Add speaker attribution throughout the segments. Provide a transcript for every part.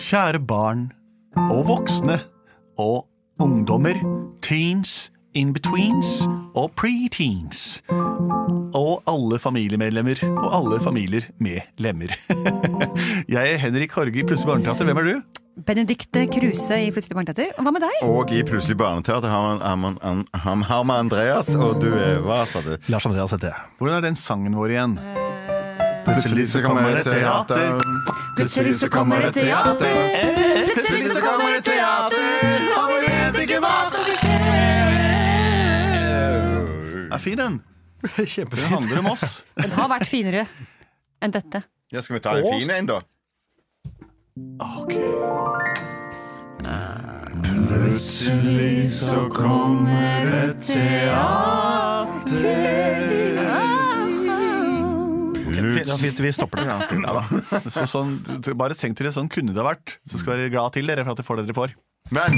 Speaker 1: Kjære barn og voksne og ungdommer, teens, in-betweens og pre-teens. Og alle familiemedlemmer og alle familier med lemmer. Jeg er Henrik Horge i Plutselig barneteater. Hvem er du?
Speaker 2: Benedicte Kruse i Plutselig barneteater. Og hva med deg?
Speaker 3: Og i Plutselig barneteater har man, har man, har man- har man Andreas, og du er hva, sa du?
Speaker 4: Lars Andreas heter jeg.
Speaker 1: Hvordan er den sangen vår igjen?
Speaker 3: Plutselig så kommer det teater.
Speaker 2: Plutselig så kommer det teater.
Speaker 3: Plutselig så kommer det teater, og vi vet ikke hva som skjer.
Speaker 1: Er fin, den. Den handler om oss.
Speaker 2: Den har vært finere enn dette.
Speaker 3: Ja, skal vi ta en fin en, da?
Speaker 1: Ok.
Speaker 3: Plutselig så kommer det teater.
Speaker 4: Fint, det var fint, vi stopper det.
Speaker 1: Ja da. Så sånn, bare tenk dere, sånn kunne det ha vært. Så skal dere være glad til dere for at dere får det dere får.
Speaker 3: Men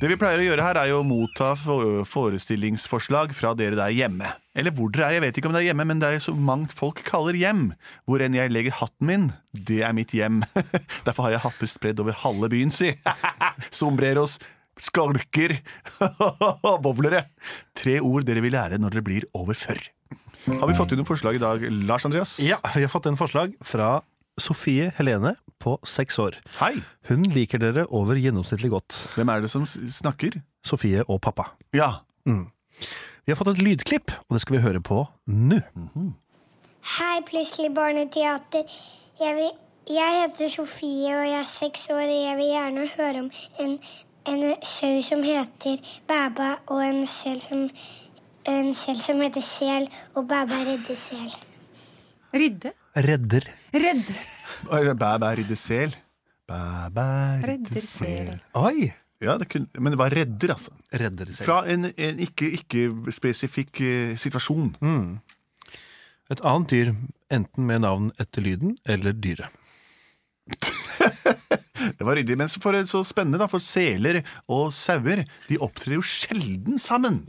Speaker 1: Det vi pleier å gjøre her, er jo å motta fo- forestillingsforslag fra dere der hjemme. Eller hvor dere er, jeg vet ikke om det er hjemme, men det er så mangt folk kaller hjem. Hvor enn jeg legger hatten min, det er mitt hjem. Derfor har jeg hatter spredd over halve byen, si. Sombreros, skalker, bowlere. Tre ord dere vil lære når dere blir over 40. Har vi fått inn noen forslag i dag, Lars Andreas?
Speaker 4: Ja, vi har fått en forslag fra Sofie Helene på seks år.
Speaker 1: Hei!
Speaker 4: Hun liker dere over gjennomsnittlig godt,
Speaker 1: Hvem er det som s- snakker?
Speaker 4: Sofie og pappa.
Speaker 1: Ja.
Speaker 4: Vi har fått et lydklipp, og det skal vi høre på nå.
Speaker 5: Hei, Plutselig barneteater. Jeg, vil, jeg heter Sofie, og jeg er seks år. og Jeg vil gjerne høre om en, en sau som heter Bæba, og en sel som, en sel som heter Sel, og Bæba redder sel.
Speaker 2: Ridde.
Speaker 4: Redder.
Speaker 2: Redd.
Speaker 1: Bæ, bæ, ridde sel. Bæ, bæ,
Speaker 2: Redder
Speaker 1: ridde sel.
Speaker 2: sel.
Speaker 4: Oi!
Speaker 1: Ja, det kunne, men det var redder, altså.
Speaker 4: Redder selv.
Speaker 1: Fra en, en ikke-spesifikk eh, situasjon.
Speaker 2: Mm.
Speaker 4: Et annet dyr, enten med navn etter lyden eller dyret.
Speaker 1: Det var ryddig, men så, for, så spennende, da. For seler og sauer de opptrer jo sjelden sammen.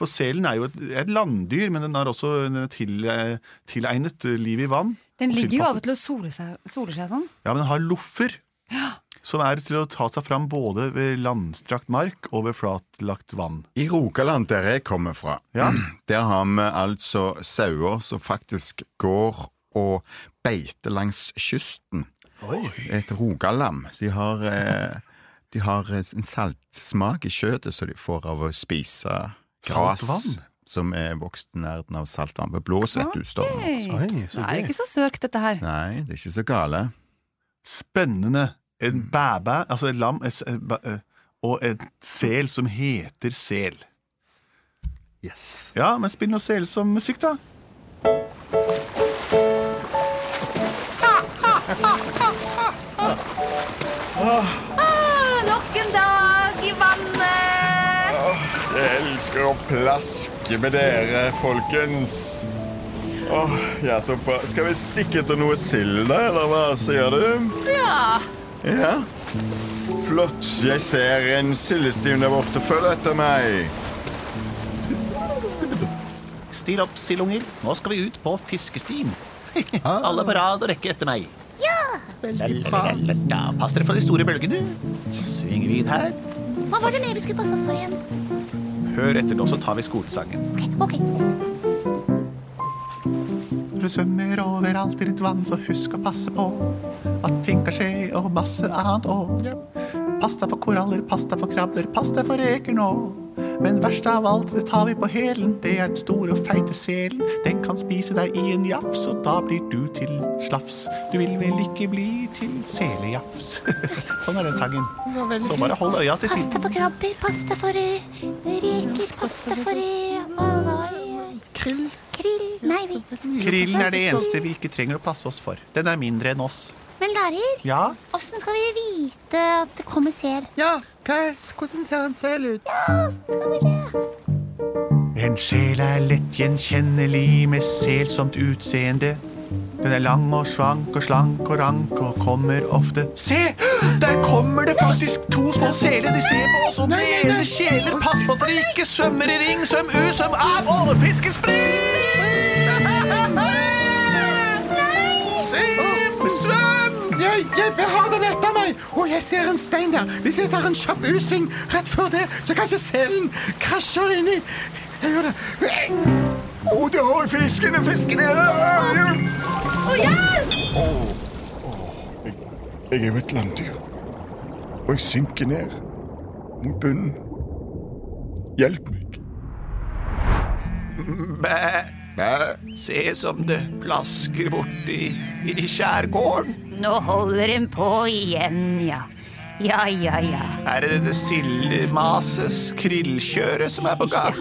Speaker 1: For selen er jo et, et landdyr, men den har også en til, eh, tilegnet eh, liv i vann.
Speaker 2: Den
Speaker 1: og
Speaker 2: ligger jo av
Speaker 1: tilpasset-
Speaker 2: og til og soler seg, soler seg sånn.
Speaker 1: Ja, men den har loffer. Som er til å ta seg fram både ved landstrakt mark og ved flatlagt vann.
Speaker 3: I Rogaland, der jeg kommer fra,
Speaker 1: Ja.
Speaker 3: der har vi altså sauer som faktisk går og beiter langs kysten. Et rogalam. Så de har, eh, de har eh, en saltsmak i kjøttet som de får av å spise gras
Speaker 1: Saltvann?
Speaker 3: som er vokst i nærheten av saltvann. Det blåser, vet du, stormen.
Speaker 2: Oi.
Speaker 4: Oi,
Speaker 2: Det
Speaker 4: så
Speaker 2: er
Speaker 4: gøy.
Speaker 2: ikke så søkt, dette her.
Speaker 3: Nei, det er ikke så gale.
Speaker 1: Spennende. En bæbæ, altså et lam et, s- eh, bæ- eh, og et sel som heter sel.
Speaker 4: Yes.
Speaker 1: Ja, men spill noe sel som musikk, da.
Speaker 2: nok en dag i vannet!
Speaker 3: Jeg elsker å plaske med dere, folkens. Åh, jeg er så på. Skal vi stikke til noe sild, da, eller hva sier du? Ja. Ja? Flott. Jeg ser en sildestiv der borte. Følg etter meg.
Speaker 1: Stil opp, sildunger. Nå skal vi ut på fiskestien. Alle på rad og rekke etter meg. Ja! Pass dere for de store bølgene. Sving vid her.
Speaker 6: Hva var det mer vi skulle passe oss for igjen?
Speaker 1: Hør etter nå, så tar vi skolesangen.
Speaker 6: Ok,
Speaker 1: Når du svømmer overalt i ditt vann, så husk å passe på at ting kan skje, og masse annet òg. Pass deg for koraller, pass deg for krabber, pass deg for reker nå. Men verst av alt, det tar vi på hælen. Det er den store og feite selen. Den kan spise deg i en jafs, og da blir du til slafs. Du vil vel ikke bli til selejafs. sånn er den sangen. Så bare hold øya til
Speaker 6: pass
Speaker 1: siden.
Speaker 6: deg for krabber, pass deg for eh, reker, pass deg for eh, hva var det? Krill. Krill. Nei, vi.
Speaker 1: Krillen er det eneste vi ikke trenger å passe oss for. Den er mindre enn oss.
Speaker 6: Men lærer,
Speaker 1: Ja?
Speaker 6: åssen skal vi vite at det kommer sel?
Speaker 3: Ja, hvordan ser en sel ut?
Speaker 1: En sjel er lett gjenkjennelig med selsomt utseende. Den er lang og svank og slank og rank og kommer ofte Se! Der kommer det faktisk to små seler! De ser på oss som hele kjeler. Pass på at dere ikke svømmer i ring! Svøm ut som av overfisken! Spring! Svøm! Svøm!
Speaker 3: Jeg Jeg har den etter meg, og jeg ser en stein der. Hvis jeg tar en kjapp U-sving rett før det, så kanskje selen krasjer inni Jeg gjør det.
Speaker 7: Å, det har fiskene, fiskene! Å,
Speaker 2: Å, hjelp!
Speaker 7: Jeg er jo et landdyr, og jeg synker ned mot bunnen. Hjelp meg.
Speaker 1: Bæ,
Speaker 7: Bæ.
Speaker 1: se som det plasker borti i skjærgården.
Speaker 6: Nå holder hun på igjen, ja. Ja, ja, ja.
Speaker 1: Er det dette sildemases krillkjøret som er på gang?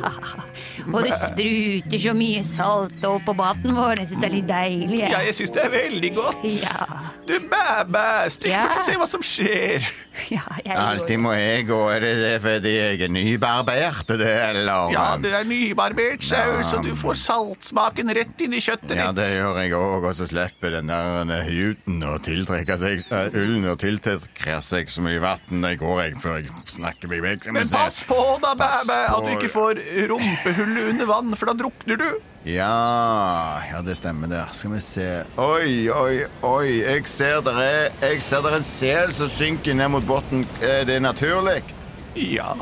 Speaker 6: Og det spruter så mye salt opp på maten vår. Jeg syns det er litt deilig.
Speaker 1: Ja, jeg syns det er veldig godt.
Speaker 6: Ja.
Speaker 1: Du, bæ, bæ, stikk
Speaker 6: Ja.
Speaker 1: ut og se hva som skjer.
Speaker 6: ja jeg
Speaker 3: Alltid må jeg gå. Er det det fordi jeg er nybarbert, det, eller?
Speaker 1: Ja, det er nybarbert saus, og du får saltsmaken rett inn i kjøttet
Speaker 3: Ja, det
Speaker 1: ditt.
Speaker 3: gjør jeg òg, og så slipper den der eh, juten å tiltrekke seg eh, Ullen å tiltrekke seg så mye vann. Det går jeg før jeg snakker meg vekk.
Speaker 1: Men pass på da, bæ,
Speaker 3: Pass
Speaker 1: bæ, at du
Speaker 3: på.
Speaker 1: ikke får rumpehullet under vann, for da drukner du.
Speaker 3: Ja, ja, det stemmer det. Skal vi se. Oi, oi, oi. Jeg ser der er, jeg ser der er en sel som synker ned mot bunnen. Er det naturlig?
Speaker 1: Ja,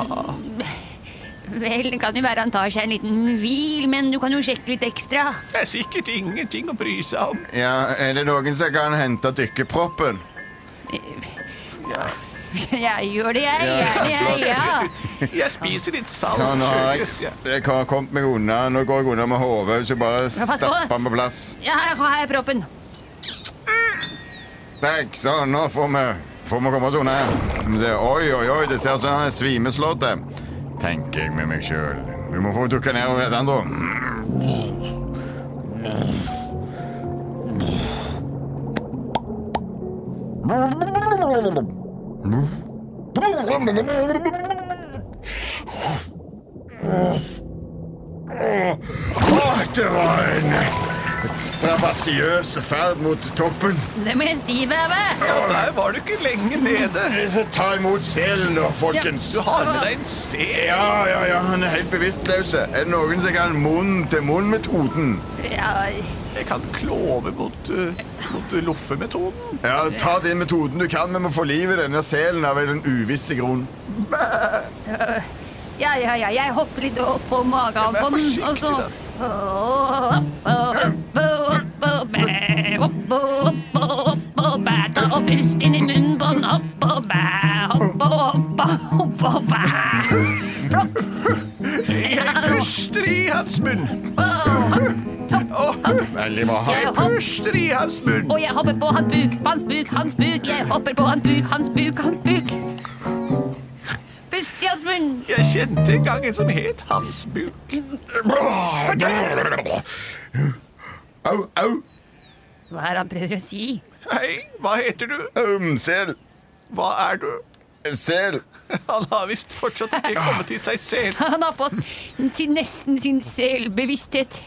Speaker 6: Vel, det kan jo være han tar seg en liten hvil, men du kan jo sjekke litt ekstra.
Speaker 1: det er sikkert ingenting å bry seg om.
Speaker 3: Ja, er det noen som kan hente dykkerproppen?
Speaker 6: Jeg gjør det, jeg.
Speaker 3: Ja,
Speaker 6: jeg, jeg, ja.
Speaker 1: Jeg spiser litt salt.
Speaker 3: Sånn har jeg,
Speaker 1: skjønnes, ja.
Speaker 3: jeg har kommet meg unna. Nå går jeg unna med hodet, så bare
Speaker 6: Ja, pass på.
Speaker 3: stapper den på plass.
Speaker 6: ja, her har jeg proppen.
Speaker 3: Takk, sånn, nå får vi, får vi komme oss unna her. Det, oi, oi, oi, det ser ut som han er svimeslått, det. Tenker jeg med meg sjøl. Vi må få dukke ned og redde han, da.
Speaker 7: Åh, det var en strabasiøs ferd mot toppen.
Speaker 6: Det må jeg si, Bæve.
Speaker 1: Ja, der var du ikke lenge nede.
Speaker 7: Så Ta imot selen, da, folkens.
Speaker 1: Du har med deg en sel.
Speaker 3: Ja, ja, ja, han er helt bevisstløs. Er det noen som kan munn-til-munn-metoden?
Speaker 6: Ja,
Speaker 1: Jeg kan klove mot, uh, mot loffemetoden.
Speaker 3: Ja, ta den metoden du kan. Vi må få liv i denne selen av en uviss grunn.
Speaker 6: ja, ja, ja. Jeg hopper litt opp på magen
Speaker 1: Vær
Speaker 6: på den, og så
Speaker 1: forsiktig,
Speaker 6: Ta og pust inn i munnen på den. Opp og bæ, opp og opp og opp og bæ. Flott.
Speaker 1: Jeg puster i hans munn.
Speaker 3: Veldig bra.
Speaker 6: Jeg
Speaker 1: Jeg
Speaker 6: hopp-
Speaker 1: puster i hans munn.
Speaker 6: Og jeg hopper på hans buk, hans buk, hans buk. Jeg hopper på hans buk, hans buk, hans buk. Pust i hans munn.
Speaker 1: Jeg kjente en gang en som het Hans Buk.
Speaker 3: Au, au.
Speaker 6: Hva er det han prøver å si?
Speaker 1: Hei, hva heter du?
Speaker 3: Um, sel.
Speaker 1: Hva er du?
Speaker 3: Sel.
Speaker 1: Han har visst fortsatt ikke kommet til seg selv.
Speaker 6: Han har fått sin, nesten sin selvbevissthet.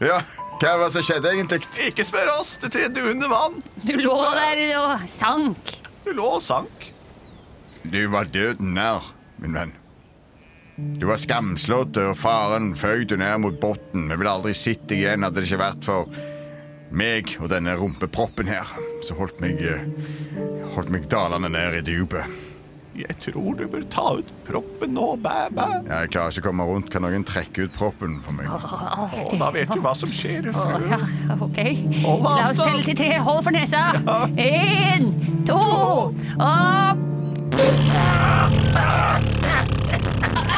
Speaker 3: Ja, hva var det som skjedde egentlig?
Speaker 1: Ikke spør oss, det tredde under vann.
Speaker 6: Du lå der og sank.
Speaker 1: Du lå og sank.
Speaker 3: Du var døden nær, min venn. Du var skamslått, og faren føy du ned mot bunnen. Vi ville aldri sett deg igjen hadde det ikke vært for meg og denne rumpeproppen her, som holdt meg eh, Holdt meg dalende ned i dypet.
Speaker 1: Jeg tror du bør ta ut proppen nå, bæ, bæ.
Speaker 3: Jeg klarer ikke å komme rundt. Kan noen trekke ut proppen for meg?
Speaker 1: Og da vet du hva som skjer.
Speaker 6: Å, ja, ok.
Speaker 1: Hold
Speaker 6: La oss
Speaker 1: avstand.
Speaker 6: telle til tre. Hold for nesa. Én, to, opp.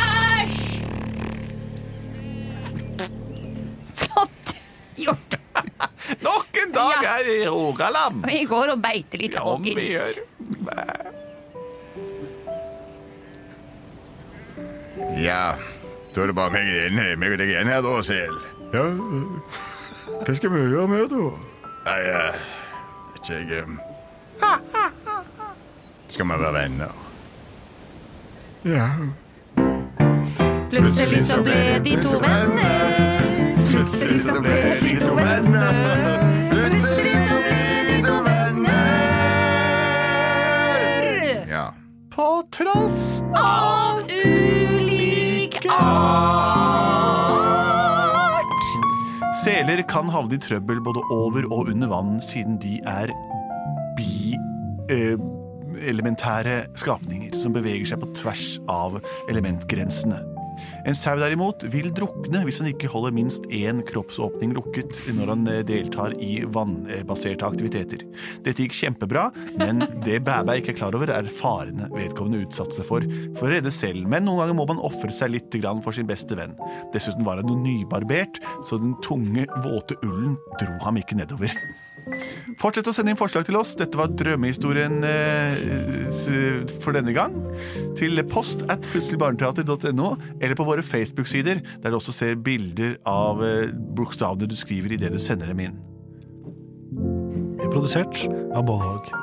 Speaker 6: Æsj! Flott gjort.
Speaker 1: Nok en dag
Speaker 6: Ja.
Speaker 1: er i Rogaland.
Speaker 6: Vi går og beiter litt,
Speaker 1: Ja, om vi
Speaker 6: folkens.
Speaker 1: gjør.
Speaker 3: Ja, da er det bare meg igjen, eh, meg og deg igjen her, da, Sel. Ja, eh, hva skal vi gjøre med da? Nei, eh, vet ikke jeg eh. Skal vi være venner? Ja.
Speaker 6: Plutselig så ble de to venner.
Speaker 3: Plutselig
Speaker 6: så ble de to
Speaker 3: venner.
Speaker 6: eh,
Speaker 1: eh,
Speaker 6: Plutselig så ble de to venner.
Speaker 3: Ja.
Speaker 1: På tross
Speaker 6: Av ulik art.
Speaker 1: Ser Seler kan havne i trøbbel både over og under vann, siden de er bi-elementære eh, skapninger som beveger seg på tvers av elementgrensene. En sau derimot vil drukne hvis han ikke holder minst én kroppsåpning lukket når han eh, deltar i vannbaserte aktiviteter. Dette gikk kjempebra, men det Bæbæ ikke er klar over, er farene vedkommende utsatte seg for for å redde selv, men noen ganger må man ofre seg litt grann for sin beste venn. Dessuten var han jo nybarbert, så den tunge, våte ullen dro ham ikke nedover. Fortsett å sende inn forslag til oss. Dette var drømmehistorien eh, s- for denne gang. Til post at plutseligbarneteater.no, eller på våre Facebook-sider, der du også ser bilder av eh, bokstavene du skriver idet du sender dem inn.
Speaker 4: Produsert av Bollhaug.